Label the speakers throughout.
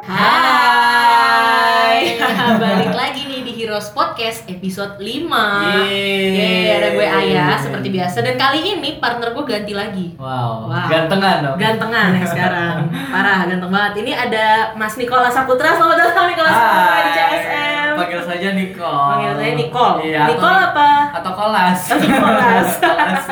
Speaker 1: balik lagi nih di Heroes Podcast episode 5
Speaker 2: Yeay.
Speaker 1: Yeay, ada gue Ayah seperti biasa Dan kali ini partner gue ganti lagi
Speaker 2: Wow,
Speaker 1: Wow.
Speaker 2: gantengan dong.
Speaker 1: Gantengan ya sekarang Parah, ganteng banget Ini ada Mas Nikola Saputra Selamat datang Nikola Saputra di CSM
Speaker 2: Panggil saja Nicole.
Speaker 1: Panggil saya Nicole
Speaker 2: Iya, atau-
Speaker 1: Nicole apa?
Speaker 2: Atau Kolas.
Speaker 1: Atau Kolas.
Speaker 2: Kolas.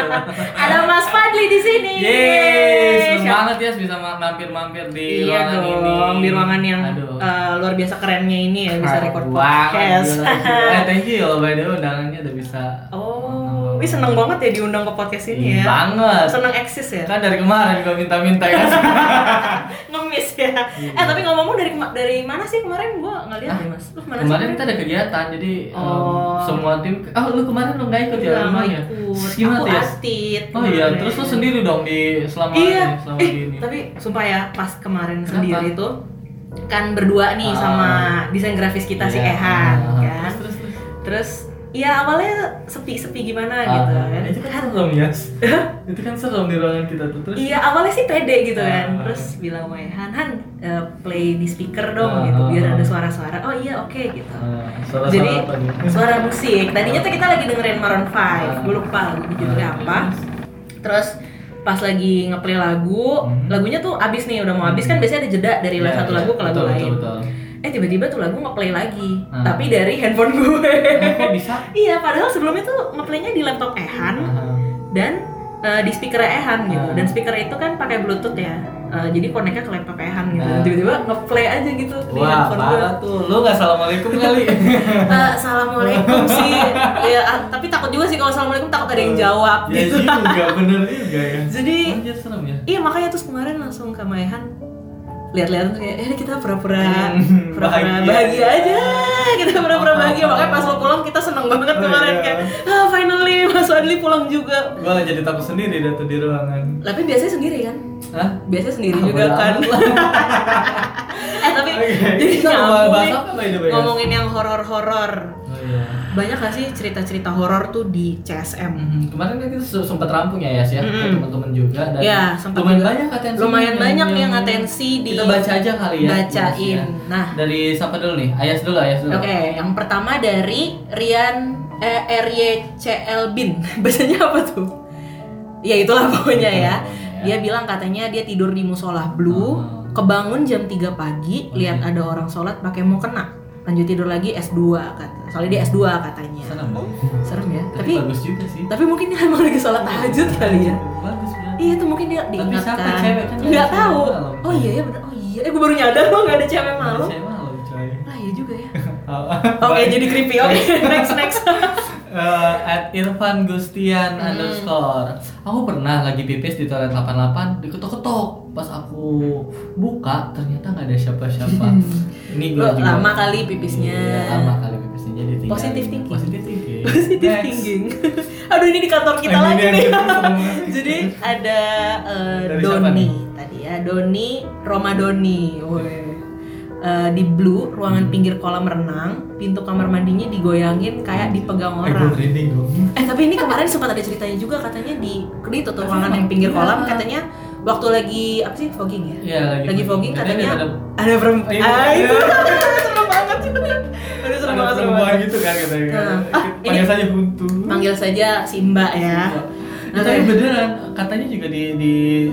Speaker 1: Ada Mas Fadli di sini
Speaker 2: Yeay, seneng
Speaker 1: Siapa-
Speaker 2: banget ya bisa ma- mampir-mampir di
Speaker 1: iya
Speaker 2: ruangan
Speaker 1: dong,
Speaker 2: ini.
Speaker 1: di ruangan yang
Speaker 2: Aduh.
Speaker 1: eh, luar biasa kerennya ini ya bisa
Speaker 2: Keren
Speaker 1: record
Speaker 2: banget,
Speaker 1: podcast.
Speaker 2: gila. eh, thank you loh by the way undangannya udah bisa.
Speaker 1: oh, wih seneng banget ya diundang ke podcast ini
Speaker 2: Iya,
Speaker 1: ya.
Speaker 2: Banget.
Speaker 1: Seneng eksis ya.
Speaker 2: Kan dari kemarin gua minta-minta ya.
Speaker 1: Ngemis ya. Eh tapi ngomong-ngomong dari kema- dari mana sih kemarin gua nggak lihat
Speaker 2: Iya. Ah,
Speaker 1: ya Mas. Lu mana sih?
Speaker 2: Kemarin kita ada kegiatan, jadi um,
Speaker 1: Oh.
Speaker 2: semua tim. Ah, lu kemarin lu nggak ikut
Speaker 1: Gak
Speaker 2: ya? emang ya?
Speaker 1: ikut.
Speaker 2: Gimana
Speaker 1: Aku
Speaker 2: tuh ya?
Speaker 1: astit.
Speaker 2: Oh iya,
Speaker 1: kemarin.
Speaker 2: terus lu sendiri dong di selama
Speaker 1: Iya.
Speaker 2: ini, selama
Speaker 1: Eh,
Speaker 2: ini.
Speaker 1: tapi sumpah ya pas kemarin
Speaker 2: Kenapa?
Speaker 1: sendiri tuh kan berdua nih
Speaker 2: Ah.
Speaker 1: sama desain grafis kita si
Speaker 2: Iya.
Speaker 1: Ehan
Speaker 2: Ah,
Speaker 1: kan.
Speaker 2: Terus terus. terus.
Speaker 1: Terus ya awalnya sepi-sepi gimana
Speaker 2: Ah,
Speaker 1: gitu kan.
Speaker 2: Itu kan serem ya. itu kan serem di ruangan kita tuh terus.
Speaker 1: Iya awalnya sih pede gitu kan
Speaker 2: Ah.
Speaker 1: Terus bilang sama Han, Han eh, play di speaker dong
Speaker 2: Ah,
Speaker 1: gitu Biar
Speaker 2: ah,
Speaker 1: ada
Speaker 2: ah.
Speaker 1: suara-suara Oh iya oke gitu
Speaker 2: Ah, suara-suara
Speaker 1: Jadi
Speaker 2: apa gitu. nih?
Speaker 1: suara musik Tadinya tuh kita lagi dengerin Maroon 5 Gue lupa lagu judulnya
Speaker 2: Ah.
Speaker 1: apa Terus pas lagi ngeplay lagu
Speaker 2: Hmm.
Speaker 1: Lagunya tuh abis nih udah mau abis kan biasanya ada jeda dari
Speaker 2: Iya,
Speaker 1: satu
Speaker 2: iya,
Speaker 1: lagu ke lagu
Speaker 2: betul,
Speaker 1: lain
Speaker 2: Betul, betul.
Speaker 1: Eh tiba-tiba tuh lagu ngeplay lagi
Speaker 2: Ah.
Speaker 1: Tapi dari handphone gue
Speaker 2: Eh, kok bisa?
Speaker 1: Iya padahal sebelumnya tuh ngeplaynya di laptop Ehan
Speaker 2: Ah,
Speaker 1: dan eh, di speaker Ehan gitu
Speaker 2: Ah.
Speaker 1: dan speaker itu kan pakai bluetooth ya Eh, jadi koneknya ke laptop Ehan gitu
Speaker 2: Ah.
Speaker 1: tiba-tiba ngeplay aja gitu di
Speaker 2: Wah,
Speaker 1: handphone gue
Speaker 2: parah tuh. Lu nggak assalamualaikum kali.
Speaker 1: Eh, assalamualaikum sih ya ah, tapi takut juga sih kalau assalamualaikum takut ada yang jawab
Speaker 2: Ya
Speaker 1: gitu
Speaker 2: juga, bener juga ya.
Speaker 1: Jadi-
Speaker 2: Anjir, serem ya.
Speaker 1: iya makanya terus kemarin langsung ke Maehan lihat-lihat tuh kayak eh kita pura-pura
Speaker 2: Hmm,
Speaker 1: pura-pura
Speaker 2: bahagia.
Speaker 1: bahagia aja kita pura-pura
Speaker 2: Oh,
Speaker 1: bahagia
Speaker 2: oh,
Speaker 1: makanya
Speaker 2: oh.
Speaker 1: pas lo pulang kita seneng banget
Speaker 2: Oh,
Speaker 1: kemarin
Speaker 2: iya.
Speaker 1: kayak ah finally Mas Adli pulang juga
Speaker 2: Gua jadi takut sendiri dah tuh di ruangan.
Speaker 1: tapi biasanya sendiri kan
Speaker 2: Hah?
Speaker 1: biasanya sendiri
Speaker 2: Ah,
Speaker 1: juga
Speaker 2: bodo
Speaker 1: kan
Speaker 2: amat lah.
Speaker 1: eh tapi
Speaker 2: Oke.
Speaker 1: jadi
Speaker 2: Kita mau
Speaker 1: nyambung
Speaker 2: bahas
Speaker 1: nih,
Speaker 2: apa, by the way, ya?
Speaker 1: ngomongin yang horor-horor
Speaker 2: Oh iya.
Speaker 1: banyak gak sih cerita-cerita horor tuh di CSM
Speaker 2: Mhm, Kemarin kan kita se- sempat rampung ya Yas ya ke
Speaker 1: Mhm.
Speaker 2: teman-teman juga dan
Speaker 1: Ya, sempat
Speaker 2: lumayan
Speaker 1: juga.
Speaker 2: banyak atensi
Speaker 1: Lumayan banyak yang atensi di-
Speaker 2: kita baca aja kali ya
Speaker 1: bacain.
Speaker 2: Yas, ya.
Speaker 1: Nah.
Speaker 2: dari siapa dulu nih Ayas dulu Ayas dulu
Speaker 1: oke yang pertama dari Rian eh, RYCL Bin biasanya apa tuh ya itulah
Speaker 2: Iya,
Speaker 1: pokoknya ya dia bilang katanya dia tidur di musola blue
Speaker 2: Ah.
Speaker 1: kebangun jam 3 pagi
Speaker 2: Oh,
Speaker 1: lihat
Speaker 2: iya.
Speaker 1: ada orang sholat pakai mau kena lanjut tidur lagi S2 kata soalnya dia S2 katanya
Speaker 2: serem banget.
Speaker 1: serem ya
Speaker 2: tapi,
Speaker 1: tapi
Speaker 2: bagus juga sih
Speaker 1: tapi mungkin dia emang lagi sholat tahajud kali ya
Speaker 2: bagus banget
Speaker 1: Iya itu mungkin dia
Speaker 2: Tapi
Speaker 1: diingatkan.
Speaker 2: siapa cewek kan
Speaker 1: Nggak
Speaker 2: cewek
Speaker 1: tahu.
Speaker 2: malam.
Speaker 1: Oh iya ya bener. Oh iya. Eh gue baru nyadar loh nggak ada cewek malu.
Speaker 2: saya malu coy
Speaker 1: Lah iya juga ya. Oke
Speaker 2: Oke,
Speaker 1: jadi creepy. Oke next next.
Speaker 2: Eh, at Irfan Gustian
Speaker 1: Hmm.
Speaker 2: underscore aku pernah lagi pipis di toilet 88 diketok-ketok pas aku buka ternyata nggak ada siapa-siapa ini gue
Speaker 1: Lo lama kali pipisnya.
Speaker 2: iya, lama kali pipisnya jadi tinggal
Speaker 1: Positive thinking.
Speaker 2: positif thinking
Speaker 1: Positive
Speaker 2: Next.
Speaker 1: thinking. Aduh ini di kantor kita
Speaker 2: Ini
Speaker 1: lagi
Speaker 2: yang
Speaker 1: nih.
Speaker 2: kita semua.
Speaker 1: jadi ada eh,
Speaker 2: Dari siapa
Speaker 1: Doni
Speaker 2: nih?
Speaker 1: tadi ya. Doni Romadoni. Woi. Eh, di blue
Speaker 2: Hmm.
Speaker 1: ruangan pinggir kolam renang pintu kamar mandinya digoyangin kayak dipegang
Speaker 2: eh gue
Speaker 1: orang
Speaker 2: merinding dong
Speaker 1: Eh tapi ini kemarin sempat ada ceritanya juga katanya di di tuh ruangan yang pinggir kolam katanya waktu lagi apa sih fogging ya?
Speaker 2: Iya, lagi
Speaker 1: Lagi
Speaker 2: fogging.
Speaker 1: fogging
Speaker 2: Katanya
Speaker 1: katanya
Speaker 2: ada-
Speaker 1: ada perempuan.
Speaker 2: Iya.
Speaker 1: Ah itu serem banget sih. Aduh serem
Speaker 2: ada
Speaker 1: banget serem
Speaker 2: perempuan
Speaker 1: banget.
Speaker 2: gitu kan katanya
Speaker 1: Nah, ah,
Speaker 2: panggil
Speaker 1: ini-
Speaker 2: saja buntu
Speaker 1: Panggil saja si Mbak ya.
Speaker 2: Nah, tapi beneran katanya juga di di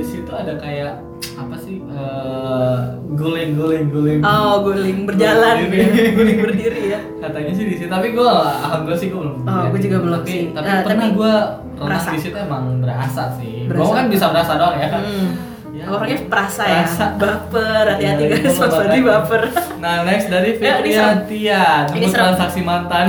Speaker 2: situ ada kayak apa sih eh, guling guling guling.
Speaker 1: Oh guling berjalan
Speaker 2: Berdiri.
Speaker 1: ya, guling berdiri ya.
Speaker 2: Katanya sih di situ tapi gue alhamdulillah sih gue belum.
Speaker 1: Oh,
Speaker 2: lihat.
Speaker 1: gua juga belum
Speaker 2: tapi,
Speaker 1: sih.
Speaker 2: Tapi
Speaker 1: Eh,
Speaker 2: pernah
Speaker 1: tapi
Speaker 2: gue
Speaker 1: berasa.
Speaker 2: renang di situ emang berasa sih.
Speaker 1: Berasa.
Speaker 2: Gue kan bisa berasa doang ya.
Speaker 1: Hmm.
Speaker 2: Ya.
Speaker 1: Orangnya perasa ya,
Speaker 2: Perasa.
Speaker 1: baper, hati-hati
Speaker 2: Iya,
Speaker 1: guys,
Speaker 2: gua
Speaker 1: Mas Fadli
Speaker 2: baper.
Speaker 1: baper
Speaker 2: Nah next dari
Speaker 1: Ya, ini
Speaker 2: Fitri
Speaker 1: serem.
Speaker 2: Tian,
Speaker 1: Ini
Speaker 2: ini
Speaker 1: serem.
Speaker 2: transaksi mantan.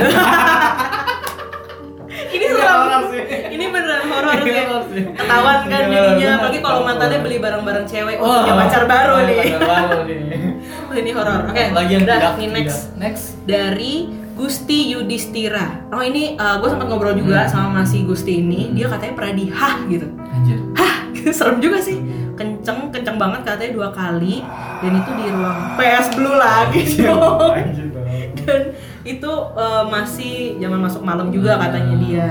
Speaker 1: Ini
Speaker 2: Ini horor
Speaker 1: serem,
Speaker 2: Iya, sih.
Speaker 1: ini beneran horor
Speaker 2: Ini
Speaker 1: ya
Speaker 2: horor sih.
Speaker 1: Ketahuan kan
Speaker 2: Ini horor
Speaker 1: jadinya,
Speaker 2: banget.
Speaker 1: apalagi kalau mantannya beli barang-barang cewek, oh
Speaker 2: Iya, Wah, Iya,
Speaker 1: punya pacar baru
Speaker 2: punya
Speaker 1: nih
Speaker 2: pacar baru nih.
Speaker 1: Oh, ini horor. Oke,
Speaker 2: Lagi yang
Speaker 1: udah,
Speaker 2: tidak
Speaker 1: ini
Speaker 2: tidak.
Speaker 1: next
Speaker 2: Next.
Speaker 1: dari Gusti Yudhistira. Oh ini gue sempat ngobrol juga
Speaker 2: Hmm.
Speaker 1: sama si Gusti ini.
Speaker 2: Hmm.
Speaker 1: Dia katanya pernah di hah gitu.
Speaker 2: Anjir.
Speaker 1: Hah, serem juga sih. Kenceng, kenceng banget katanya dua kali. Dan itu di ruang PS Blue lagi
Speaker 2: Iya.
Speaker 1: dong.
Speaker 2: Anjir banget.
Speaker 1: Dan itu eh, masih zaman masuk malam juga katanya dia.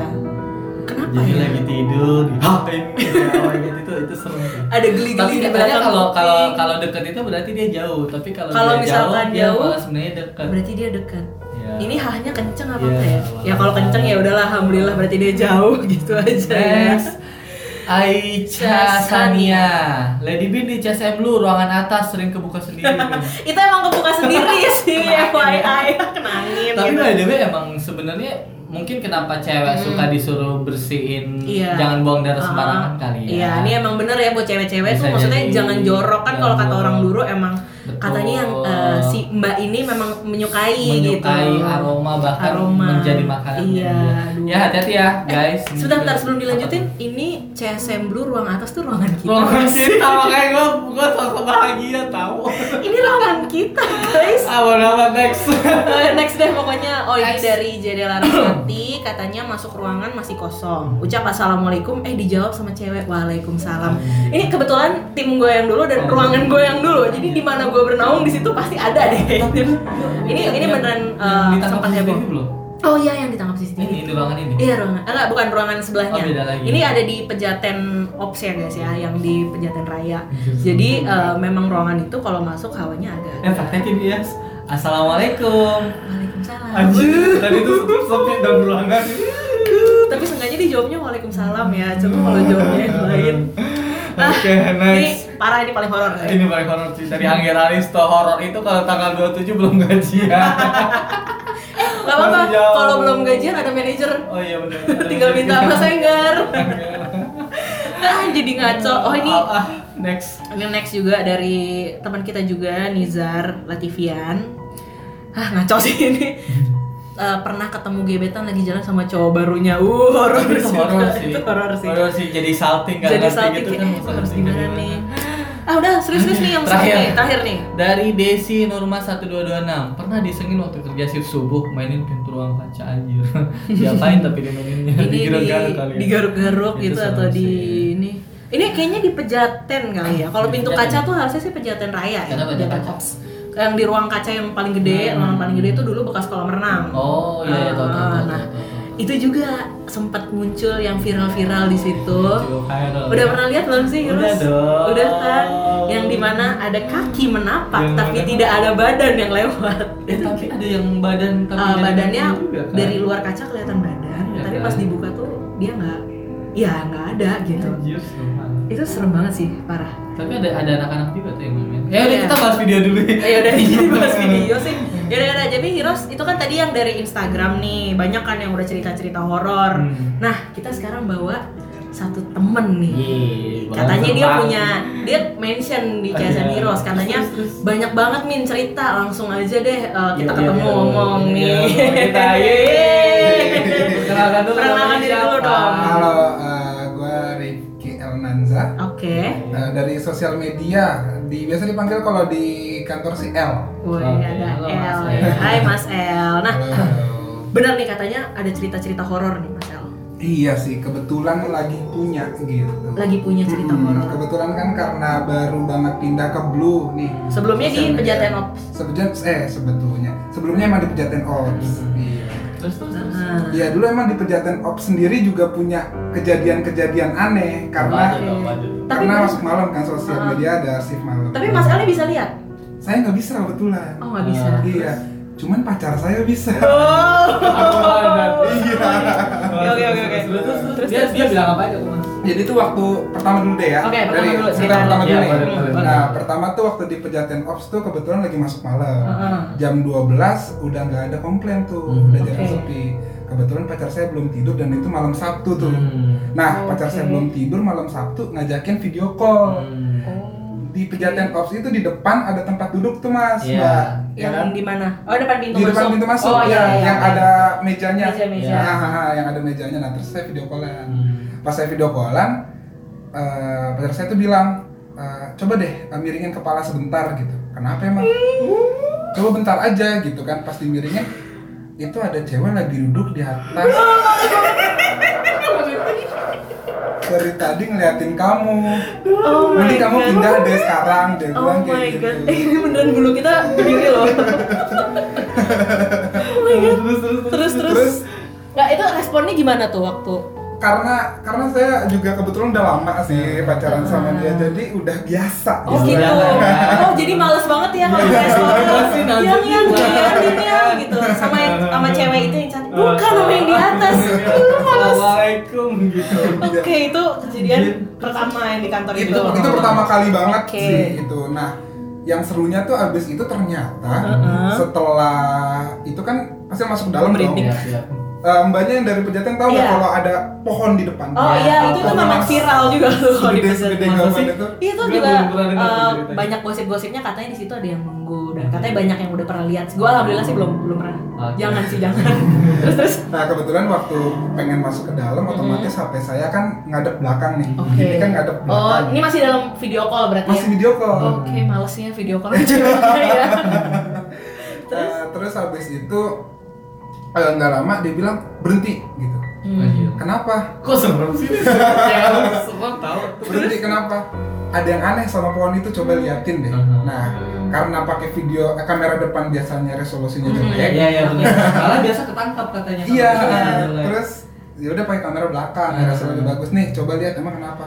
Speaker 1: Kenapa
Speaker 2: Iya. jadi
Speaker 1: ya?
Speaker 2: lagi tidur dihapain gitu orang gitu itu itu serem sih
Speaker 1: Ada geli-geli
Speaker 2: tapi
Speaker 1: di
Speaker 2: sebenarnya
Speaker 1: belakang
Speaker 2: kalau kalau
Speaker 1: kuping.
Speaker 2: kalau deket itu berarti dia jauh tapi kalau
Speaker 1: Kalau
Speaker 2: dia
Speaker 1: misalkan
Speaker 2: jauh,
Speaker 1: jauh,
Speaker 2: dia malah sebenarnya dekat
Speaker 1: Berarti dia dekat.
Speaker 2: Ya.
Speaker 1: Ini hahnya kenceng apa
Speaker 2: Ya,
Speaker 1: enggak ya? Ya kalau kenceng ya udahlah alhamdulillah berarti dia jauh gitu aja ya.
Speaker 2: Next. Aicha Sania Lady Bin di CSM lu ruangan atas sering kebuka sendiri Bin.
Speaker 1: Itu emang kebuka sendiri sih
Speaker 2: Kena angin ya.
Speaker 1: FYI kena angin
Speaker 2: Tapi
Speaker 1: gitu.
Speaker 2: by the way emang sebenarnya mungkin kenapa cewek
Speaker 1: Hmm.
Speaker 2: suka disuruh bersihin
Speaker 1: Iya.
Speaker 2: jangan buang darah
Speaker 1: Ah,
Speaker 2: sembarangan kali ya.
Speaker 1: Iya, ini emang bener ya buat cewek-cewek tuh
Speaker 2: Bisa
Speaker 1: maksudnya
Speaker 2: jadi.
Speaker 1: jangan jorok kan kalau kata
Speaker 2: Jangan
Speaker 1: orang
Speaker 2: jorok.
Speaker 1: dulu emang
Speaker 2: Betul.
Speaker 1: katanya yang eh, si Mbak ini memang menyukai, gitu.
Speaker 2: menyukai aroma bahkan
Speaker 1: Aroma.
Speaker 2: menjadi makanan
Speaker 1: Iya,
Speaker 2: dia.
Speaker 1: aduh. Eh,
Speaker 2: Ya hati-hati ya guys. Gitu.
Speaker 1: Sebentar, bentar, sebelum dilanjutin, ini CSM Blue ruang atas tuh ruangan kita.
Speaker 2: Ruangan kita makanya gua gua sok bahagia tahu.
Speaker 1: ini ruangan kita, guys.
Speaker 2: Apa-apa next.
Speaker 1: Eh, Next deh pokoknya Oh ini
Speaker 2: Next.
Speaker 1: dari jendela Rahmati Katanya masuk ruangan masih kosong Ucap assalamualaikum Eh dijawab sama cewek Waalaikumsalam Ini kebetulan tim gue yang dulu Dan ruangan gue yang dulu Jadi di mana gue bernaung di situ pasti ada deh Ini ini beneran eh, sempat heboh
Speaker 2: belum?
Speaker 1: Oh iya yang ditangkap
Speaker 2: Ini
Speaker 1: CCTV
Speaker 2: ini ruangan ini.
Speaker 1: Iya ruangan eh, Enggak bukan ruangan sebelahnya
Speaker 2: Oh, beda lagi.
Speaker 1: Ini ada di Pejaten Ops ya guys ya Yang di Pejaten Raya Jadi eh, memang ruangan itu kalau masuk hawanya agak
Speaker 2: Eh praktekin ya. Assalamualaikum.
Speaker 1: Waalaikumsalam
Speaker 2: Anjir, tadi itu sepi dan ruangan.
Speaker 1: tapi seenggaknya dia jawabnya waalaikumsalam ya coba kalau jawabnya yang lain Nah,
Speaker 2: Hmm. Oke,
Speaker 1: ini
Speaker 2: next.
Speaker 1: parah ini paling horor ya.
Speaker 2: Ini paling horor sih dari Angger Aristo horor itu kalau tanggal 27 belum gajian.
Speaker 1: nggak apa-apa
Speaker 2: Masih jauh.
Speaker 1: kalau belum gajian ada manajer
Speaker 2: Oh iya benar.
Speaker 1: tinggal minta sama Sengger ah jadi ngaco oh ini
Speaker 2: Ah, ah, next.
Speaker 1: ini next juga dari teman kita juga Nizar Latifian ah ngaco sih ini Eh, pernah ketemu gebetan lagi jalan sama cowok barunya uh horor
Speaker 2: Itu
Speaker 1: sih.
Speaker 2: horor sih.
Speaker 1: itu horor sih
Speaker 2: Horor sih jadi salting nggak
Speaker 1: jadi
Speaker 2: ngerti
Speaker 1: salting
Speaker 2: gitu
Speaker 1: kayak,
Speaker 2: kan.
Speaker 1: eh,
Speaker 2: maksudnya
Speaker 1: harus gimana nih ah udah serius-serius nih yang
Speaker 2: Terakhir.
Speaker 1: terakhir nih terakhir nih
Speaker 2: Dari Desi Norma 1226 Pernah disengin waktu kerja shift subuh Mainin pintu ruang kaca anjir Diapain tapi dimaininnya
Speaker 1: ini
Speaker 2: Digaruk-garuk kali ya.
Speaker 1: di garuk-garuk
Speaker 2: Itu
Speaker 1: gitu
Speaker 2: serem
Speaker 1: atau di
Speaker 2: sih.
Speaker 1: ini ini kayaknya di pejaten kali ya kalau
Speaker 2: Di
Speaker 1: pintu
Speaker 2: Pejaten.
Speaker 1: kaca tuh harusnya sih pejaten raya ya
Speaker 2: Kenapa ada
Speaker 1: Pejaten
Speaker 2: kaca?
Speaker 1: Ops. yang di ruang kaca yang paling gede
Speaker 2: Hmm.
Speaker 1: ruangan paling gede itu dulu bekas kolam renang
Speaker 2: Oh iya iya tahu tahu
Speaker 1: Ah,
Speaker 2: tahu.
Speaker 1: nah itu juga sempat muncul yang viral-viral di situ
Speaker 2: ya.
Speaker 1: udah pernah lihat belum sih
Speaker 2: Udah
Speaker 1: Rus?
Speaker 2: dong.
Speaker 1: udah kan yang dimana ada kaki menapak
Speaker 2: Yang
Speaker 1: tapi
Speaker 2: mana-
Speaker 1: tidak ada badan yang lewat
Speaker 2: Eh tapi ada yang badan tapi
Speaker 1: Eh,
Speaker 2: jadi
Speaker 1: badannya
Speaker 2: kaki juga, kan?
Speaker 1: dari luar kaca kelihatan badan,
Speaker 2: Iya
Speaker 1: tapi
Speaker 2: kan?
Speaker 1: pas dibuka tuh dia nggak, ya nggak ada gitu.
Speaker 2: Anjir, serem banget.
Speaker 1: Itu serem banget sih, parah.
Speaker 2: Tapi ada ada anak-anak juga tuh yang main. Eh udah
Speaker 1: Iya.
Speaker 2: kita bahas video dulu. Iya,
Speaker 1: Eh, Ya udah jadi bahas video sih. Ya udah, ya udah. jadi Heroes itu kan tadi yang dari Instagram nih, banyak kan yang udah cerita-cerita horor.
Speaker 2: Hmm.
Speaker 1: Nah, kita sekarang bawa satu temen nih.
Speaker 2: Yeay, bakal
Speaker 1: Katanya dia
Speaker 2: terbang.
Speaker 1: punya, dia mention di
Speaker 2: Oh,
Speaker 1: CSN
Speaker 2: iya.
Speaker 1: Heroes, katanya
Speaker 2: Terus, terus.
Speaker 1: banyak banget min cerita, langsung aja deh eh, kita
Speaker 2: Iya,
Speaker 1: ketemu
Speaker 2: iya, iya.
Speaker 1: ngomong
Speaker 2: Iya,
Speaker 1: nih.
Speaker 2: sama kita. Yeay. Kenalkan iya. dulu.
Speaker 1: Perkenalan
Speaker 2: namanya
Speaker 1: diri dulu
Speaker 2: siapa?
Speaker 1: dong.
Speaker 3: Halo, gue Rifki Elnanza
Speaker 1: Oke.
Speaker 3: Eh, dari sosial media. Di, biasa dipanggil kalau di kantor si L.
Speaker 1: Woi,
Speaker 2: Oke,
Speaker 1: ada
Speaker 2: halo,
Speaker 1: L.
Speaker 2: Mas
Speaker 1: ya.
Speaker 2: El.
Speaker 1: Hai Mas El. Nah,
Speaker 3: Eh, Halo.
Speaker 1: benar nih katanya ada cerita-cerita horor nih Mas El.
Speaker 3: Iya sih, kebetulan lagi punya gitu.
Speaker 1: Lagi punya cerita
Speaker 2: Hmm,
Speaker 3: Mm-mm.
Speaker 1: horor.
Speaker 3: Kebetulan kan karena baru banget pindah ke Blue nih.
Speaker 1: Sebelumnya di
Speaker 3: Sosial media.
Speaker 1: Pejaten Ops.
Speaker 3: Sebeja- eh sebetulnya. Sebelumnya emang di Pejaten Ops.
Speaker 1: Hmm.
Speaker 3: Iya.
Speaker 2: Terus terus. terus.
Speaker 1: Nah,
Speaker 3: Iya, dulu emang di Pejaten Ops sendiri juga punya kejadian-kejadian aneh
Speaker 2: Waduh,
Speaker 3: karena
Speaker 2: dong, waduh.
Speaker 1: Tapi-
Speaker 3: karena masuk malam kan sosial
Speaker 1: Ah.
Speaker 3: media ada shift malam.
Speaker 1: tapi Mas El bisa lihat?
Speaker 3: Saya nggak bisa kebetulan.
Speaker 1: Oh, nggak bisa.
Speaker 2: Ah.
Speaker 3: Iya, cuman pacar saya bisa.
Speaker 1: Oh.
Speaker 2: Iya.
Speaker 1: Oke, oke, oke.
Speaker 2: Terus, terus,
Speaker 1: Terus,
Speaker 2: terus. Dia
Speaker 1: terus,
Speaker 2: dia bilang apa aja ke Mas?
Speaker 3: Jadi itu waktu pertama dulu deh ya.
Speaker 1: Oke, pertama
Speaker 3: Dari
Speaker 1: dulu,
Speaker 3: cerita
Speaker 1: cerita
Speaker 3: pertama
Speaker 2: dulu.
Speaker 3: dulu
Speaker 2: Iya,
Speaker 3: nih.
Speaker 2: boleh, boleh.
Speaker 3: Nah, pertama tuh waktu di Pejaten Ops tuh kebetulan lagi masuk malam.
Speaker 1: Heeh.
Speaker 3: Jam 12 udah nggak ada komplain tuh,
Speaker 2: Hmm.
Speaker 3: udah jarang
Speaker 1: Oke.
Speaker 3: sepi. Kebetulan pacar saya belum tidur dan itu malam Sabtu tuh.
Speaker 2: Hmm.
Speaker 3: Nah, pacar
Speaker 1: Oke.
Speaker 3: saya belum tidur malam Sabtu ngajakin video
Speaker 1: Oh.
Speaker 3: call.
Speaker 1: Hmm,
Speaker 2: Hmm. Oh,
Speaker 3: Di Pejaten Ops itu di depan ada tempat duduk tuh, Mas.
Speaker 2: Iya.
Speaker 3: Mbak. Ya kan?
Speaker 1: Yang di mana? Oh, depan pintu
Speaker 3: di
Speaker 1: masuk.
Speaker 3: depan pintu masuk
Speaker 1: Oh
Speaker 3: ya,
Speaker 1: iya, iya.
Speaker 3: yang ada mejanya
Speaker 1: Meja-meja.
Speaker 3: Nah, ah, ah, yang ada mejanya nah terus saya video callan
Speaker 2: Hmm.
Speaker 3: pas saya video callan eh, pacar saya tuh bilang eh, coba deh eh, miringin kepala sebentar gitu kenapa emang coba bentar aja gitu kan pas dimiringin itu ada cewek lagi duduk di atas
Speaker 1: Oh
Speaker 3: dari tadi ngeliatin kamu
Speaker 1: Oh my
Speaker 3: mending kamu
Speaker 1: God.
Speaker 3: pindah deh sekarang dia
Speaker 1: Oh
Speaker 3: bilang
Speaker 1: my
Speaker 3: kayak gitu
Speaker 1: god, Eh, ini beneran bulu kita berdiri loh. oh my god.
Speaker 2: Terus terus terus.
Speaker 1: Terus terus.
Speaker 3: Terus?
Speaker 1: Nggak, itu responnya gimana tuh waktu
Speaker 3: karena karena saya juga kebetulan udah lama sih pacaran sama dia jadi udah biasa
Speaker 1: Ah. Oh
Speaker 2: Iya,
Speaker 1: gitu.
Speaker 2: iya.
Speaker 1: Oh jadi males banget ya kalau
Speaker 3: Iya,
Speaker 1: kayak soal
Speaker 3: iya,
Speaker 2: iya.
Speaker 1: yang yang yang yang yang, yang gitu sama yang sama cewek itu yang cantik. Bukan sama yang di atas. Males.
Speaker 2: Assalamualaikum gitu.
Speaker 1: Oke itu kejadian
Speaker 3: Iya.
Speaker 1: pertama yang di kantor itu.
Speaker 3: itu itu pertama kali banget
Speaker 1: Oke.
Speaker 3: sih itu nah yang serunya tuh abis itu ternyata
Speaker 1: Heeh.
Speaker 3: setelah itu kan pasti masuk ke dalam dong
Speaker 1: Merinding.
Speaker 2: Iya, siap.
Speaker 3: Eh, mbaknya yang dari pejaten tahu nggak
Speaker 1: Iya.
Speaker 3: kalau ada pohon di depan Nah,
Speaker 1: Oh iya itu itu
Speaker 3: Pohon
Speaker 1: memang
Speaker 3: mas-
Speaker 1: viral juga tuh kalau di
Speaker 3: segede
Speaker 1: Twitter.
Speaker 3: segede
Speaker 2: Masa
Speaker 3: gaban
Speaker 2: sih?
Speaker 3: itu
Speaker 1: Itu
Speaker 2: Gue
Speaker 1: Iya, juga
Speaker 2: Iya, belum pernah dengar
Speaker 1: eh,
Speaker 2: tuh ceritanya.
Speaker 1: banyak gosip-gosipnya katanya di situ ada yang nunggu dan katanya banyak yang udah pernah lihat. Gue alhamdulillah sih belum belum pernah.
Speaker 2: Oke.
Speaker 1: Jangan sih jangan. Terus terus.
Speaker 3: Nah kebetulan waktu pengen masuk ke dalam otomatis HP saya kan ngadep belakang nih.
Speaker 1: Oke.
Speaker 3: Ini kan ngadep
Speaker 1: Oh
Speaker 3: belakang.
Speaker 1: ini masih dalam video call berarti ya?
Speaker 3: Masih video call.
Speaker 1: Oke, malesnya video call ya. Terus?
Speaker 3: Eh, terus habis itu eh, nggak lama dia bilang berhenti gitu.
Speaker 1: Hmm.
Speaker 3: Kenapa?
Speaker 2: Kok serem sih? Kayak semua tahu.
Speaker 3: Berhenti kenapa? Ada yang aneh sama pohon itu coba liatin deh.
Speaker 2: Mhm.
Speaker 3: Nah karena pakai video eh, kamera depan biasanya resolusinya jelek.
Speaker 2: Iya, iya benar. Malah biasa ketangkap katanya.
Speaker 3: Iya.
Speaker 2: Kalau
Speaker 3: nah,
Speaker 2: misalnya jelek.
Speaker 3: Terus ya udah pakai kamera belakang
Speaker 2: Mhm.
Speaker 3: resolusinya bagus nih. Coba lihat emang kenapa?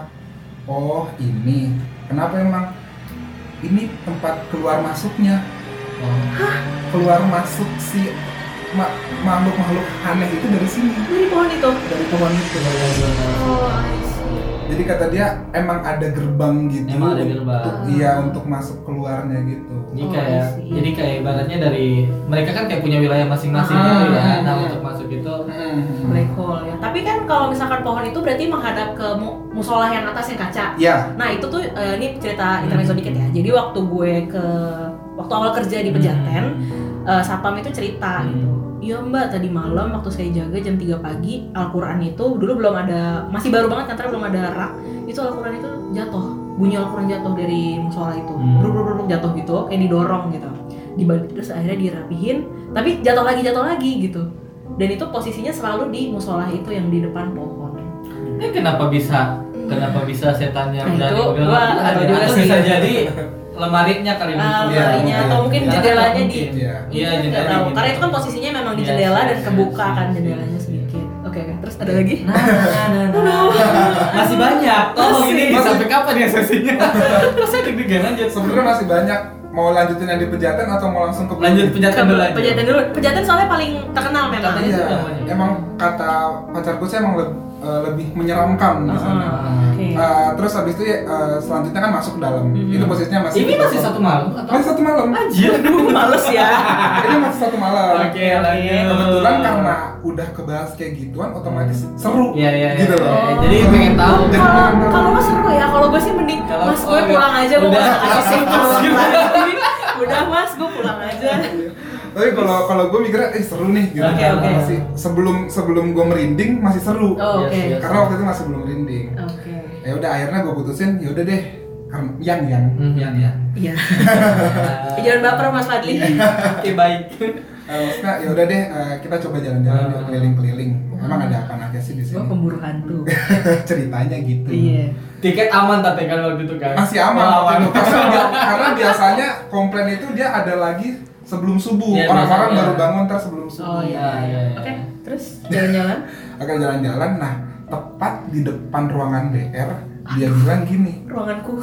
Speaker 3: Oh ini. Kenapa emang? Ini tempat keluar masuknya.
Speaker 2: Oh.
Speaker 3: keluar masuk si ma- makhluk-makhluk aneh itu dari sini
Speaker 1: Dari pohon itu.
Speaker 3: dari pohon itu
Speaker 1: Oh, I see.
Speaker 3: jadi kata dia emang ada gerbang gitu
Speaker 2: Emang ada gerbang.
Speaker 3: untuk iya untuk masuk keluarnya gitu
Speaker 2: Jadi
Speaker 1: Oh,
Speaker 2: kayak,
Speaker 1: I see.
Speaker 2: jadi kayak ibaratnya dari mereka kan kayak punya wilayah masing-masing
Speaker 3: Ah,
Speaker 2: gitu ya.
Speaker 3: iya,
Speaker 2: Nah
Speaker 3: iya.
Speaker 2: untuk masuk itu
Speaker 1: Black hole ya. Tapi kan kalau misalkan pohon itu berarti menghadap ke mu- musola yang atas yang kaca.
Speaker 3: ya
Speaker 1: Nah itu tuh eh, ini cerita intermezzo dikit ya. Jadi waktu gue ke waktu awal kerja di Pejaten, eh, Sapam itu cerita
Speaker 2: Hmm.
Speaker 1: gitu. Iya mbak tadi malam waktu saya jaga jam 3 pagi Al-Quran itu dulu belum ada masih baru banget kantornya belum ada rak itu Al-Quran itu jatuh bunyi Al-Quran jatuh dari musola itu
Speaker 2: Hmm.
Speaker 1: bruk, bruk, bruk, bruk, jatuh gitu kayak didorong gitu dibalik terus akhirnya dirapihin tapi jatuh lagi jatuh lagi gitu dan itu posisinya selalu di musola itu yang di depan pohon
Speaker 2: Eh kenapa bisa? Kenapa bisa setannya
Speaker 1: Nah,
Speaker 2: berani
Speaker 1: itu
Speaker 2: bilang,
Speaker 1: gua
Speaker 2: "Ah,
Speaker 1: atau
Speaker 2: ada-
Speaker 1: juga
Speaker 2: atau
Speaker 1: sih."
Speaker 2: bisa jadi lemarinya kali
Speaker 1: Ah,
Speaker 2: mungkin.
Speaker 3: lemarinya,
Speaker 2: Iya,
Speaker 3: atau
Speaker 1: mungkin
Speaker 2: Karena
Speaker 1: jendelanya di-
Speaker 2: mungkin.
Speaker 3: Iya.
Speaker 2: Iya,
Speaker 1: Nggak
Speaker 2: jendelanya.
Speaker 1: tahu.
Speaker 2: gitu.
Speaker 1: karena itu kan posisinya memang di
Speaker 2: Iya,
Speaker 1: jendela
Speaker 2: iya,
Speaker 1: dan
Speaker 2: iya,
Speaker 1: kebuka
Speaker 2: iya,
Speaker 1: kan
Speaker 2: iya,
Speaker 1: jendelanya
Speaker 2: iya.
Speaker 1: sedikit oke oke terus ada lagi
Speaker 2: Nah, nah, nah, nah. masih banyak. Tolong
Speaker 1: Masih.
Speaker 2: ini
Speaker 3: Masih.
Speaker 2: sampai kapan ya sesinya? Terus saya deg-degan aja
Speaker 3: sebenarnya masih banyak mau lanjutin yang di pejaten atau mau langsung ke
Speaker 2: Lanjut penjatan dulu aja.
Speaker 1: Pejaten dulu. Pejaten soalnya paling terkenal memang.
Speaker 2: Katanya
Speaker 3: Iya,
Speaker 2: itu namanya.
Speaker 3: emang kata pacarku sih emang leb- eh, lebih menyeramkan di sana.
Speaker 2: Ah.
Speaker 1: Oke.
Speaker 3: Eh, terus habis itu ya, eh, selanjutnya kan masuk ke dalam.
Speaker 1: Mhm.
Speaker 3: Itu posisinya masih
Speaker 2: Mm-hmm. Ini masih satu malam atau?
Speaker 3: Masih satu malam.
Speaker 2: Anjir.
Speaker 1: Males ya.
Speaker 3: Ini masih satu malam.
Speaker 2: Oke, lanjut.
Speaker 3: kebetulan karena udah kebahas kayak gituan otomatis seru
Speaker 2: Iya, iya, iya.
Speaker 3: gitu loh
Speaker 2: Iya, Jadi pengen tahu.
Speaker 3: Jadi
Speaker 1: Kalau
Speaker 3: pengen tahu.
Speaker 1: kalau lo seru ya, kalau gue sih mending
Speaker 2: Kalau-
Speaker 1: mas gue
Speaker 2: oh, iya.
Speaker 1: pulang aja gue
Speaker 2: Udah.
Speaker 1: nggak kasih pulang
Speaker 2: Gitu.
Speaker 1: lagi. Udah mas, gue pulang aja.
Speaker 3: tapi kalau kalau gue mikirnya eh seru nih gitu
Speaker 1: Oke, oke.
Speaker 3: masih sebelum sebelum gue merinding masih seru
Speaker 1: Oh, Oke.
Speaker 2: Yes, yes.
Speaker 3: Ya, karena waktu itu masih belum merinding
Speaker 1: Oke.
Speaker 3: ya udah akhirnya gue putusin ya udah deh karena yang yang
Speaker 2: Hmm, ya, ya.
Speaker 1: Iya. Jangan baper mas Fadli.
Speaker 2: Iya. Oke, baik.
Speaker 3: Eh, maksudnya ya udah deh eh, kita coba jalan-jalan yuk,
Speaker 2: Ah.
Speaker 3: keliling-keliling emang ada apa aja sih di
Speaker 1: Gue
Speaker 3: sini
Speaker 1: pemburu hantu.
Speaker 3: ceritanya gitu
Speaker 1: Iya.
Speaker 2: Tiket aman tapi kan waktu itu kan.
Speaker 3: masih aman
Speaker 2: Oh,
Speaker 3: waktu itu. karena, bia- karena biasanya komplain itu dia ada lagi sebelum subuh
Speaker 2: Iya,
Speaker 3: orang-orang
Speaker 2: biasanya.
Speaker 3: baru bangun ntar sebelum
Speaker 1: Oh
Speaker 3: subuh
Speaker 1: iya.
Speaker 2: iya, iya.
Speaker 1: Oke. Terus jalan-jalan.
Speaker 3: akan jalan-jalan nah tepat di depan ruangan DR dia bilang gini
Speaker 1: Ruanganku.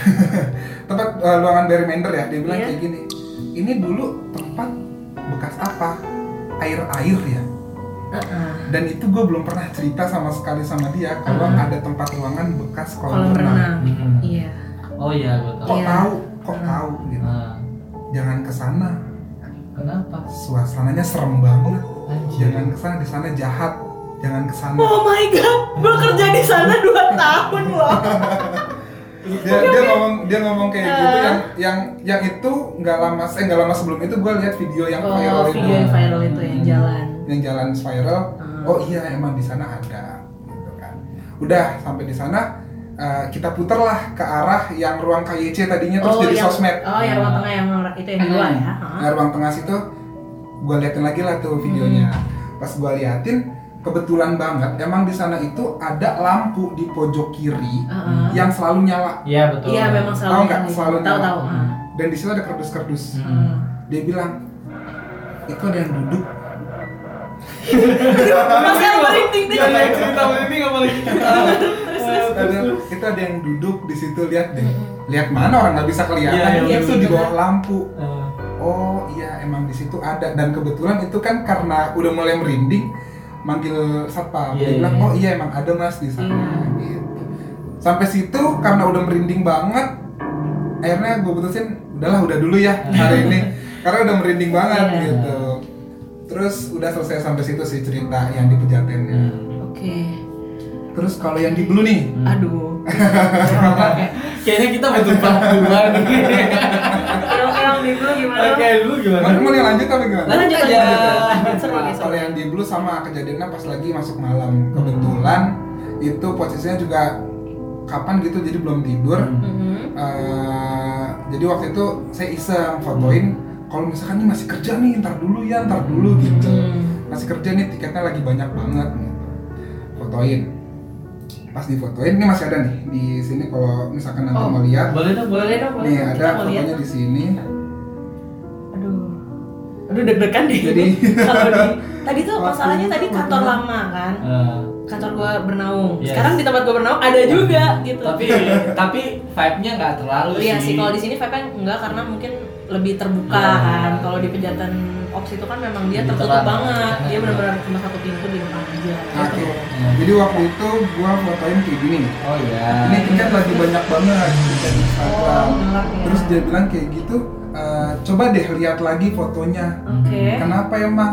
Speaker 3: tepat eh, ruangan dari Mender ya dia bilang
Speaker 1: Iya.
Speaker 3: kayak gini ini dulu tempat bekas apa air-air ya
Speaker 1: Heeh.
Speaker 3: dan itu gue belum pernah cerita sama sekali sama dia kalau
Speaker 1: Ah.
Speaker 3: ada tempat ruangan bekas kolam
Speaker 1: Kolam
Speaker 3: renang
Speaker 1: renang.
Speaker 2: Mhm.
Speaker 1: Iya.
Speaker 2: Oh iya, gua tahu.
Speaker 3: kok
Speaker 1: Iya.
Speaker 3: tahu kok
Speaker 1: Ah.
Speaker 3: tahu gitu
Speaker 2: Nah,
Speaker 3: jangan ke sana
Speaker 2: kenapa?
Speaker 3: suasananya serem banget
Speaker 2: Anjir.
Speaker 3: jangan ke sana di sana jahat jangan ke sana
Speaker 1: Oh my god, gue kerja di sana 2 tahun loh.
Speaker 3: dia dia ngomong dia ngomong kayak gitu
Speaker 1: Ah.
Speaker 3: yang yang yang itu nggak lama eh nggak lama sebelum itu gue lihat video yang
Speaker 1: Oh,
Speaker 3: viral itu
Speaker 1: video yang viral itu yang jalan.
Speaker 3: Hmm. yang jalan viral
Speaker 1: Ah.
Speaker 3: oh iya emang di sana ada gitu kan udah sampai di sana eh, kita putarlah ke arah yang ruang KYC tadinya terus
Speaker 1: oh,
Speaker 3: jadi
Speaker 1: yang,
Speaker 3: sosmed Hmm.
Speaker 1: Oh, yang ruang tengah yang itu yang di luar ya.
Speaker 3: nah ruang tengah situ gue liatin lagi lah tuh videonya
Speaker 1: Hmm.
Speaker 3: pas gue liatin kebetulan banget emang di sana itu ada lampu di pojok kiri
Speaker 1: Heeh.
Speaker 3: yang selalu nyala
Speaker 2: Iya, betul.
Speaker 1: Iya, memang selalu.
Speaker 3: Tahu nggak?
Speaker 1: yang-
Speaker 3: Selalu
Speaker 1: tahu
Speaker 3: yang-
Speaker 1: tahu. ah.
Speaker 3: dan di situ ada kardus-kardus
Speaker 2: Hmm.
Speaker 3: dia bilang itu ada yang duduk
Speaker 1: Mas Hmm. yang merinding deh.
Speaker 2: Iya, iya, cerita, cerita.
Speaker 3: duduk di situ lihat deh
Speaker 1: Mm-mm.
Speaker 3: lihat mana orang nggak bisa kelihatan
Speaker 2: Iya,
Speaker 1: iya, bener.
Speaker 3: itu di bawah lampu
Speaker 2: Eh,
Speaker 3: oh iya emang di situ ada dan kebetulan itu kan karena udah mulai merinding manggil satpam
Speaker 2: Iya,
Speaker 3: dia bilang
Speaker 2: iya.
Speaker 3: oh iya emang ada mas di sana
Speaker 1: Hmm.
Speaker 3: gitu sampai situ karena udah merinding banget akhirnya gue putusin udahlah udah dulu ya hari ini karena udah merinding banget
Speaker 1: Iya.
Speaker 3: gitu terus udah selesai sampai situ sih cerita yang di pejatennya
Speaker 2: hmm.
Speaker 1: Oke.
Speaker 3: terus kalau yang di blue nih
Speaker 2: Hmm.
Speaker 1: Aduh. Oke.
Speaker 2: Kayaknya kita berjumpa duluan.
Speaker 1: Yang yang di dulu gimana?
Speaker 2: Oke, lu gimana?
Speaker 3: Mana mau lanjut apa gimana?
Speaker 2: Lanjut aja.
Speaker 1: Seru nih,
Speaker 3: Nah,
Speaker 1: seru.
Speaker 3: kalau yang di blue sama kejadiannya pas lagi masuk malam kebetulan
Speaker 2: Hmm.
Speaker 3: itu posisinya juga kapan gitu jadi belum tidur
Speaker 2: Hmm.
Speaker 1: Mhm.
Speaker 3: Eh, jadi waktu itu saya iseng
Speaker 2: Hmm.
Speaker 3: fotoin kalau misalkan ini masih kerja nih ntar dulu ya ntar dulu gitu
Speaker 1: Hmm.
Speaker 3: masih kerja nih tiketnya lagi banyak banget gitu. fotoin pas difotoin ini masih ada nih di sini kalau misalkan nanti
Speaker 1: Oh,
Speaker 3: mau lihat
Speaker 2: Boleh dong, boleh
Speaker 1: Boleh
Speaker 2: dong.
Speaker 1: dong, boleh.
Speaker 3: nih
Speaker 1: Kita
Speaker 3: ada
Speaker 1: mau lihat.
Speaker 3: fotonya di sini
Speaker 1: Aduh. Aduh deg-degan deh.
Speaker 3: Jadi-
Speaker 1: kalau di tadi tuh
Speaker 3: Waktu
Speaker 1: masalahnya
Speaker 3: itu
Speaker 1: tadi kantor
Speaker 3: waktu- Hmm.
Speaker 1: lama kan.
Speaker 2: Eh,
Speaker 1: Kantor gua bernaung.
Speaker 2: Yes.
Speaker 1: Sekarang di tempat gua bernaung ada juga gitu.
Speaker 2: tapi tapi vibe-nya nggak terlalu
Speaker 1: Iya sih
Speaker 2: sih.
Speaker 1: kalau di sini vibe enggak karena mungkin lebih terbuka
Speaker 2: Iya.
Speaker 1: kan. Kalau di pejaten ops itu kan memang dia
Speaker 2: nah, Lebih
Speaker 1: tertutup
Speaker 2: terang.
Speaker 1: banget. Dia
Speaker 2: Iya.
Speaker 1: benar-benar cuma satu pintu di depan aja.
Speaker 3: Oke. Nah,
Speaker 1: Gitu.
Speaker 2: Hmm.
Speaker 3: jadi waktu itu gua fotoin kayak gini nih
Speaker 2: Oh iya.
Speaker 3: ini tiket lagi banyak banget tiket Instagram
Speaker 1: Oh, gelap ya.
Speaker 3: terus dia bilang kayak gitu "Eh, coba deh lihat lagi fotonya
Speaker 1: Oke.
Speaker 3: kenapa emang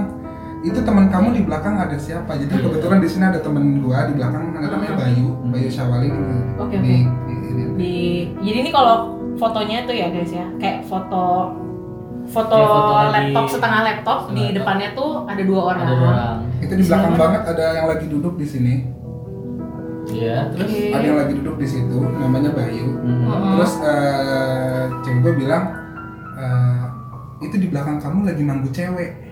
Speaker 3: itu teman kamu di belakang ada siapa
Speaker 1: Hmm.
Speaker 3: jadi kebetulan di sini ada temen gua di belakang ada namanya Bayu Bayu Syawali
Speaker 1: Oke,
Speaker 3: Di- di- di- di-
Speaker 1: Di jadi ini kalau fotonya tuh ya guys ya, kayak foto foto,
Speaker 2: Iya, foto lagi.
Speaker 1: laptop setengah laptop
Speaker 2: Setengah
Speaker 1: di
Speaker 2: laptop.
Speaker 1: depannya tuh ada dua orang.
Speaker 2: Ada orang.
Speaker 3: itu di belakang
Speaker 1: Siapa?
Speaker 3: banget ada yang lagi duduk di sini
Speaker 2: Iya, terus.
Speaker 1: Oke.
Speaker 3: ada yang lagi duduk di situ namanya Bayu
Speaker 2: Hmm.
Speaker 1: Oh.
Speaker 3: terus eh cewek gue bilang "Eh, itu di belakang kamu lagi manggu cewek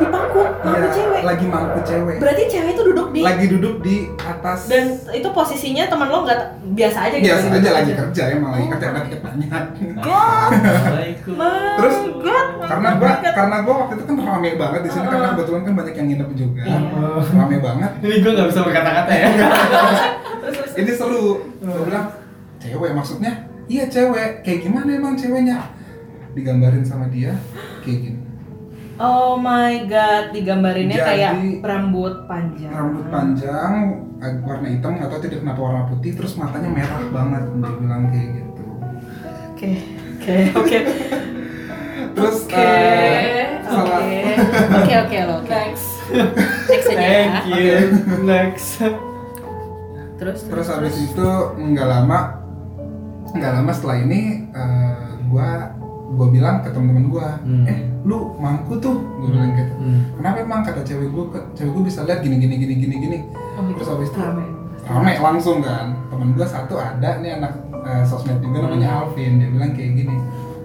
Speaker 1: Di pangku, pangku cewek.
Speaker 3: Iya, lagi mangku cewek
Speaker 1: Berarti cewek itu duduk di
Speaker 3: lagi duduk di atas
Speaker 1: dan itu posisinya teman lo nggak biasa aja Oh. gitu.
Speaker 3: biasa aja
Speaker 1: duduk
Speaker 3: lagi kerja emang lagi kerja nggak tanya
Speaker 2: Assalamualaikum.
Speaker 1: My
Speaker 3: Terus,
Speaker 1: God.
Speaker 3: karena gua karena gua waktu itu kan rame banget di sini karena kebetulan kan banyak yang nginep juga
Speaker 1: Oh, Iya.
Speaker 3: rame banget
Speaker 2: Ini gue nggak bisa berkata-kata ya.
Speaker 1: Terus, terus.
Speaker 3: ini
Speaker 1: Oh.
Speaker 3: seru gua bilang cewek maksudnya iya cewek kayak gimana emang ceweknya digambarin sama dia kayak gini
Speaker 1: Oh my god, digambarinnya
Speaker 3: Jadi-
Speaker 1: kayak rambut panjang.
Speaker 3: rambut panjang ag- warna hitam nggak tahu tidak kenapa warna putih terus matanya merah banget dia bilang kayak gitu
Speaker 1: Oke. Oke, oke.
Speaker 3: terus
Speaker 1: Oke.
Speaker 3: eh, salah
Speaker 1: Oke. Oke, oke lo. oke. Next. Next aja ya.
Speaker 2: Thank you. Next.
Speaker 1: Terus
Speaker 3: terus habis itu nggak lama nggak lama setelah ini eh, gua gua bilang ke temen-temen gua
Speaker 2: Hmm.
Speaker 3: eh lu mangku tuh gua bilang gitu
Speaker 2: Hmm.
Speaker 3: kenapa emang kata cewek gua "Ke- cewek gua bisa lihat gini gini gini gini gini
Speaker 1: Oh, gitu.
Speaker 3: terus habis itu
Speaker 1: Rame.
Speaker 3: rame langsung kan temen gua satu ada nih anak eh,
Speaker 2: Hmm.
Speaker 3: sosmed juga namanya Alvin dia bilang kayak gini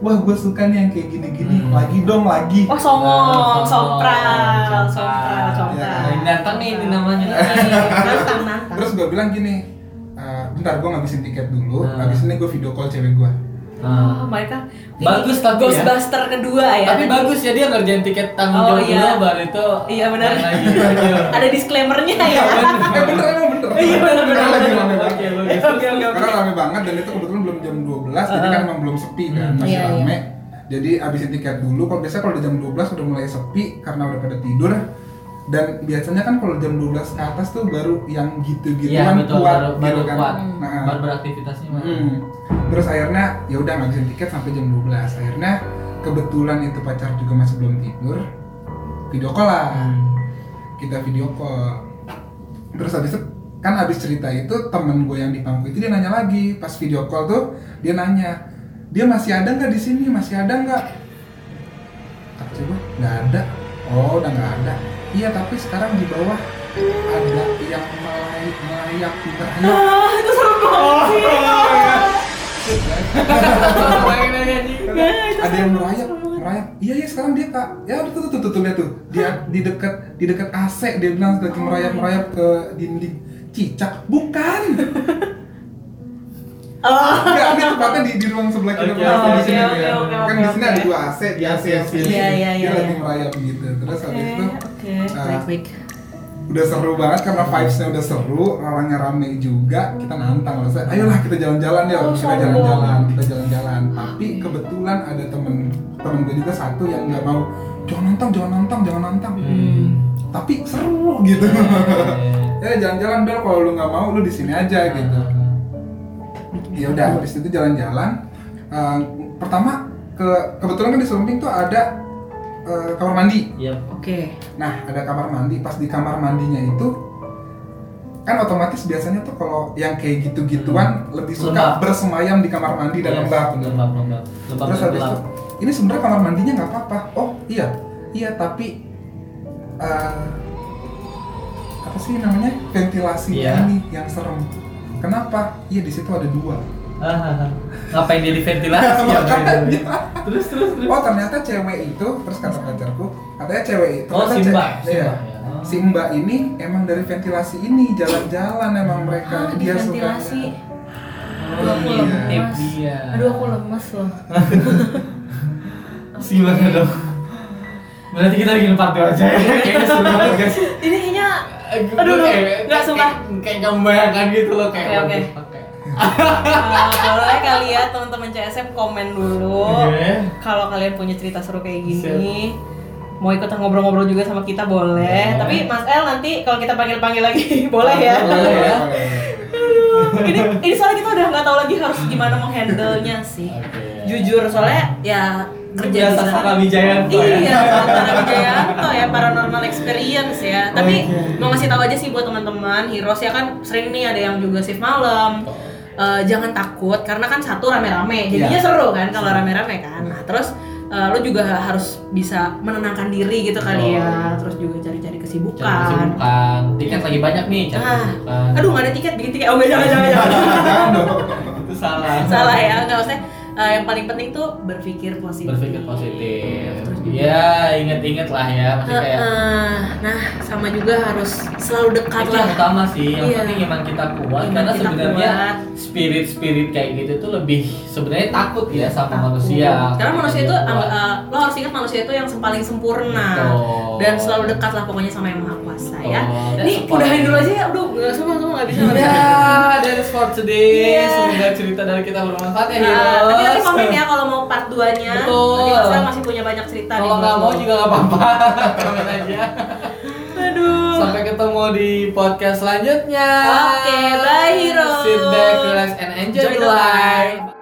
Speaker 3: wah gua suka nih yang kayak gini gini
Speaker 2: Hmm.
Speaker 3: lagi dong lagi
Speaker 1: Oh, songong,
Speaker 2: Nah, Songong,
Speaker 1: sompral,
Speaker 2: sompral.
Speaker 1: sompral,
Speaker 3: Ya,
Speaker 1: sompral. Iya,
Speaker 3: ini
Speaker 2: datang nih, ini namanya.
Speaker 1: Nantang, nantang.
Speaker 3: terus gua bilang gini "Eh, bentar gua ngabisin tiket dulu
Speaker 2: Hmm.
Speaker 3: habis ini gua video call cewek gua
Speaker 2: Ah.
Speaker 1: Oh, mereka
Speaker 2: Bagus tapi ya.
Speaker 1: Ghostbuster kedua ya.
Speaker 2: Tapi
Speaker 1: Tadi-
Speaker 2: bagus ya dia ngerjain tiket tanggung
Speaker 1: Oh,
Speaker 2: jawab
Speaker 1: iya.
Speaker 2: dulu baru itu.
Speaker 1: Iya, benar.
Speaker 2: main Lagi. Iya, Ayo.
Speaker 1: Ada disclaimernya ya.
Speaker 3: eh bener emang bener
Speaker 1: Iya, bener, bener,
Speaker 3: Bener, lagi
Speaker 1: bener.
Speaker 3: rame banget.
Speaker 2: Oke, bagus.
Speaker 1: Oke, oke, oke.
Speaker 3: karena rame banget dan itu kebetulan belum jam 12 jadi kan emang belum sepi kan
Speaker 2: Hmm.
Speaker 3: masih
Speaker 1: Iya, iya.
Speaker 3: rame jadi abisin tiket dulu kalau biasanya kalau udah jam 12 udah mulai sepi karena udah pada tidur dan biasanya kan kalau jam 12 ke atas tuh baru yang gitu-gituan
Speaker 2: Iya, betul,
Speaker 3: kuat
Speaker 2: baru-
Speaker 3: gitu
Speaker 2: baru
Speaker 3: kan
Speaker 2: kuat.
Speaker 3: Nah,
Speaker 2: Baru beraktivitasnya. Mas.
Speaker 3: hmm. terus akhirnya ya udah ngabisin tiket sampai jam 12 akhirnya kebetulan itu pacar juga masih belum tidur video call lah kita video call terus habis itu kan habis cerita itu temen gue yang di pangku itu dia nanya lagi pas video call tuh dia nanya dia masih ada nggak di sini masih ada nggak kata gue nggak ada oh udah nggak ada iya tapi sekarang di bawah ada yang melayak melayak merayak
Speaker 1: Ah, itu serem
Speaker 2: Oh,
Speaker 1: banget sih.
Speaker 2: iya, Bayangin aja, anjing.
Speaker 1: Iya,
Speaker 3: ada yang merayap merayap iya iya sekarang dia kak ya udah tuh tuh tuh, tuh lihat tuh dia di dekat di dekat AC dia bilang lagi merayap merayap
Speaker 1: iya.
Speaker 3: ke dinding cicak bukan
Speaker 1: Oh.
Speaker 3: Enggak, ini tempatnya di, di ruang sebelah kita
Speaker 2: Oke,
Speaker 3: pas
Speaker 2: oke,
Speaker 3: di sini
Speaker 1: oke,
Speaker 3: ya.
Speaker 1: oke,
Speaker 3: kan
Speaker 1: oke,
Speaker 3: di sini
Speaker 1: oke.
Speaker 3: ada dua AC, di AC yang sini
Speaker 1: Iya, iya,
Speaker 3: dia
Speaker 1: iya,
Speaker 3: lagi
Speaker 1: iya.
Speaker 3: merayap gitu. Terus habis
Speaker 1: Oke,
Speaker 3: itu
Speaker 1: oke,
Speaker 3: ah,
Speaker 1: baik baik.
Speaker 3: udah seru banget karena vibesnya udah seru orangnya rame juga kita nantang loh ayolah kita jalan-jalan ya
Speaker 1: Oh,
Speaker 3: kita
Speaker 1: sombong.
Speaker 3: jalan-jalan kita jalan-jalan tapi kebetulan ada temen temen gue juga satu yang nggak mau jangan nantang jangan nantang jangan nantang
Speaker 2: Hmm.
Speaker 3: tapi seru gitu ya jalan-jalan bel kalau lu nggak mau lu di sini
Speaker 2: Nah.
Speaker 3: aja gitu ya udah habis itu jalan-jalan Eh, pertama ke kebetulan kan di samping tuh ada eh, kamar mandi
Speaker 2: Iya.
Speaker 1: Oke.
Speaker 3: Nah, ada kamar mandi. Pas di kamar mandinya itu kan otomatis biasanya tuh kalau yang kayak gitu-gituan lebih suka
Speaker 2: Hmm. Lembab.
Speaker 3: bersemayam di kamar mandi dan lembab.
Speaker 2: Iya, Lembab, lembab. Lembab
Speaker 3: Terus
Speaker 2: dan
Speaker 3: habis itu,
Speaker 2: gelap.
Speaker 3: ini sebenarnya kamar mandinya nggak apa-apa. Oh iya, iya tapi eh, apa sih namanya ventilasinya
Speaker 2: Iya.
Speaker 3: nih yang serem. Kenapa? Iya di situ ada dua.
Speaker 2: Ah, ah, ah. Ngapain jadi ventilasi ya?
Speaker 3: Makanya.
Speaker 2: Terus terus terus.
Speaker 3: Oh ternyata cewek itu terus kata pacarku katanya cewek itu
Speaker 2: Oh,
Speaker 3: ternyata
Speaker 2: si
Speaker 3: ce-
Speaker 2: Mbak, si
Speaker 3: iya.
Speaker 2: Mbak, ya. Oh.
Speaker 3: si mbak ini emang dari ventilasi ini jalan-jalan emang mereka
Speaker 1: Ah, di
Speaker 3: dia
Speaker 1: ventilasi.
Speaker 3: suka
Speaker 1: Aduh aku
Speaker 2: Iya,
Speaker 1: lemes.
Speaker 2: dia.
Speaker 1: Aduh aku lemes loh.
Speaker 2: Si mana dong? Berarti kita bikin party aja ya. Kayaknya seru banget guys.
Speaker 1: Ini kayaknya
Speaker 2: Aduh, eh,
Speaker 1: Aduh,
Speaker 2: gue
Speaker 1: aduh. Nggak, sumpah.
Speaker 2: kayak- Kayak gak membayangkan gitu loh kayak.
Speaker 1: Oke, oke.
Speaker 2: waduh, oke.
Speaker 1: ah, boleh kali ya teman-teman CSM komen dulu.
Speaker 2: Oke.
Speaker 1: Kalau kalian punya cerita seru kayak gini,
Speaker 2: Siap.
Speaker 1: mau ikutan ngobrol-ngobrol juga sama kita boleh.
Speaker 2: Boleh.
Speaker 1: Tapi Mas El nanti kalau kita panggil-panggil lagi boleh ya.
Speaker 2: Boleh ya.
Speaker 1: Aduh, ini ini soalnya kita udah nggak tahu lagi harus gimana menghandle nya sih.
Speaker 2: Oke.
Speaker 1: Jujur soalnya ya kerja di
Speaker 2: Biasa
Speaker 1: sana.
Speaker 2: Saka Wijayanto ya.
Speaker 1: Iya, Sastra Wijayanto ya, paranormal experience ya. Tapi
Speaker 2: Oke.
Speaker 1: mau ngasih tahu aja sih buat teman-teman, Heroes ya kan sering nih ada yang juga shift malam. Eh, jangan takut karena kan satu rame-rame. Jadinya
Speaker 2: Iya.
Speaker 1: seru kan kalau rame-rame kan. Nah, terus eh, lo juga harus bisa menenangkan diri gitu kali ya. Terus juga cari-cari
Speaker 2: Cari
Speaker 1: kesibukan.
Speaker 2: kesibukan. Tiket lagi banyak nih cari
Speaker 1: Ah,
Speaker 2: kesibukan.
Speaker 1: aduh nggak ada tiket, bikin tiket. Oh, jangan, jangan,
Speaker 3: Nah,
Speaker 1: jangan.
Speaker 3: kan
Speaker 2: itu salah.
Speaker 1: Salah ya, nggak usah. Eh, yang paling penting tuh berpikir positif.
Speaker 2: berpikir positif
Speaker 1: Terus juga-
Speaker 2: ya inget-inget lah ya pasti
Speaker 1: Ah,
Speaker 2: kayak
Speaker 1: Heeh. nah sama juga harus selalu dekat
Speaker 2: itu yang
Speaker 1: lah
Speaker 2: utama sih yang
Speaker 1: Iya.
Speaker 2: penting iman kita kuat
Speaker 1: Iman
Speaker 2: karena
Speaker 1: kita
Speaker 2: sebenarnya
Speaker 1: kuat.
Speaker 2: spirit spirit kayak gitu tuh lebih sebenarnya takut ya sama
Speaker 1: Takut.
Speaker 2: manusia Gitu.
Speaker 1: karena manusia
Speaker 2: Dia
Speaker 1: itu
Speaker 2: kuat.
Speaker 1: angga- eh, lo harus ingat manusia itu yang paling sempurna
Speaker 2: Betul.
Speaker 1: dan selalu dekat lah pokoknya sama yang maha kuasa ya
Speaker 2: Oh, that's
Speaker 1: nih
Speaker 2: all.
Speaker 1: udahin dulu aja ya aduh nggak semua semua nggak bisa nggak bisa
Speaker 2: Ya, that's for today.
Speaker 1: Iya.
Speaker 2: Semoga cerita dari kita bermanfaat ya,
Speaker 1: Nah,
Speaker 2: heroes.
Speaker 1: tapi nanti komen ya kalau mau part 2 nya
Speaker 2: Betul.
Speaker 1: Nanti Mas Ra masih punya banyak cerita
Speaker 2: Kalau
Speaker 1: nih.
Speaker 2: nggak mau juga nggak apa-apa. Komen aja.
Speaker 1: Aduh
Speaker 2: Sampai ketemu di podcast selanjutnya.
Speaker 1: Oke, bye, heroes.
Speaker 2: Sit back, relax, and enjoy,
Speaker 1: Enjoy the
Speaker 2: life.
Speaker 1: life.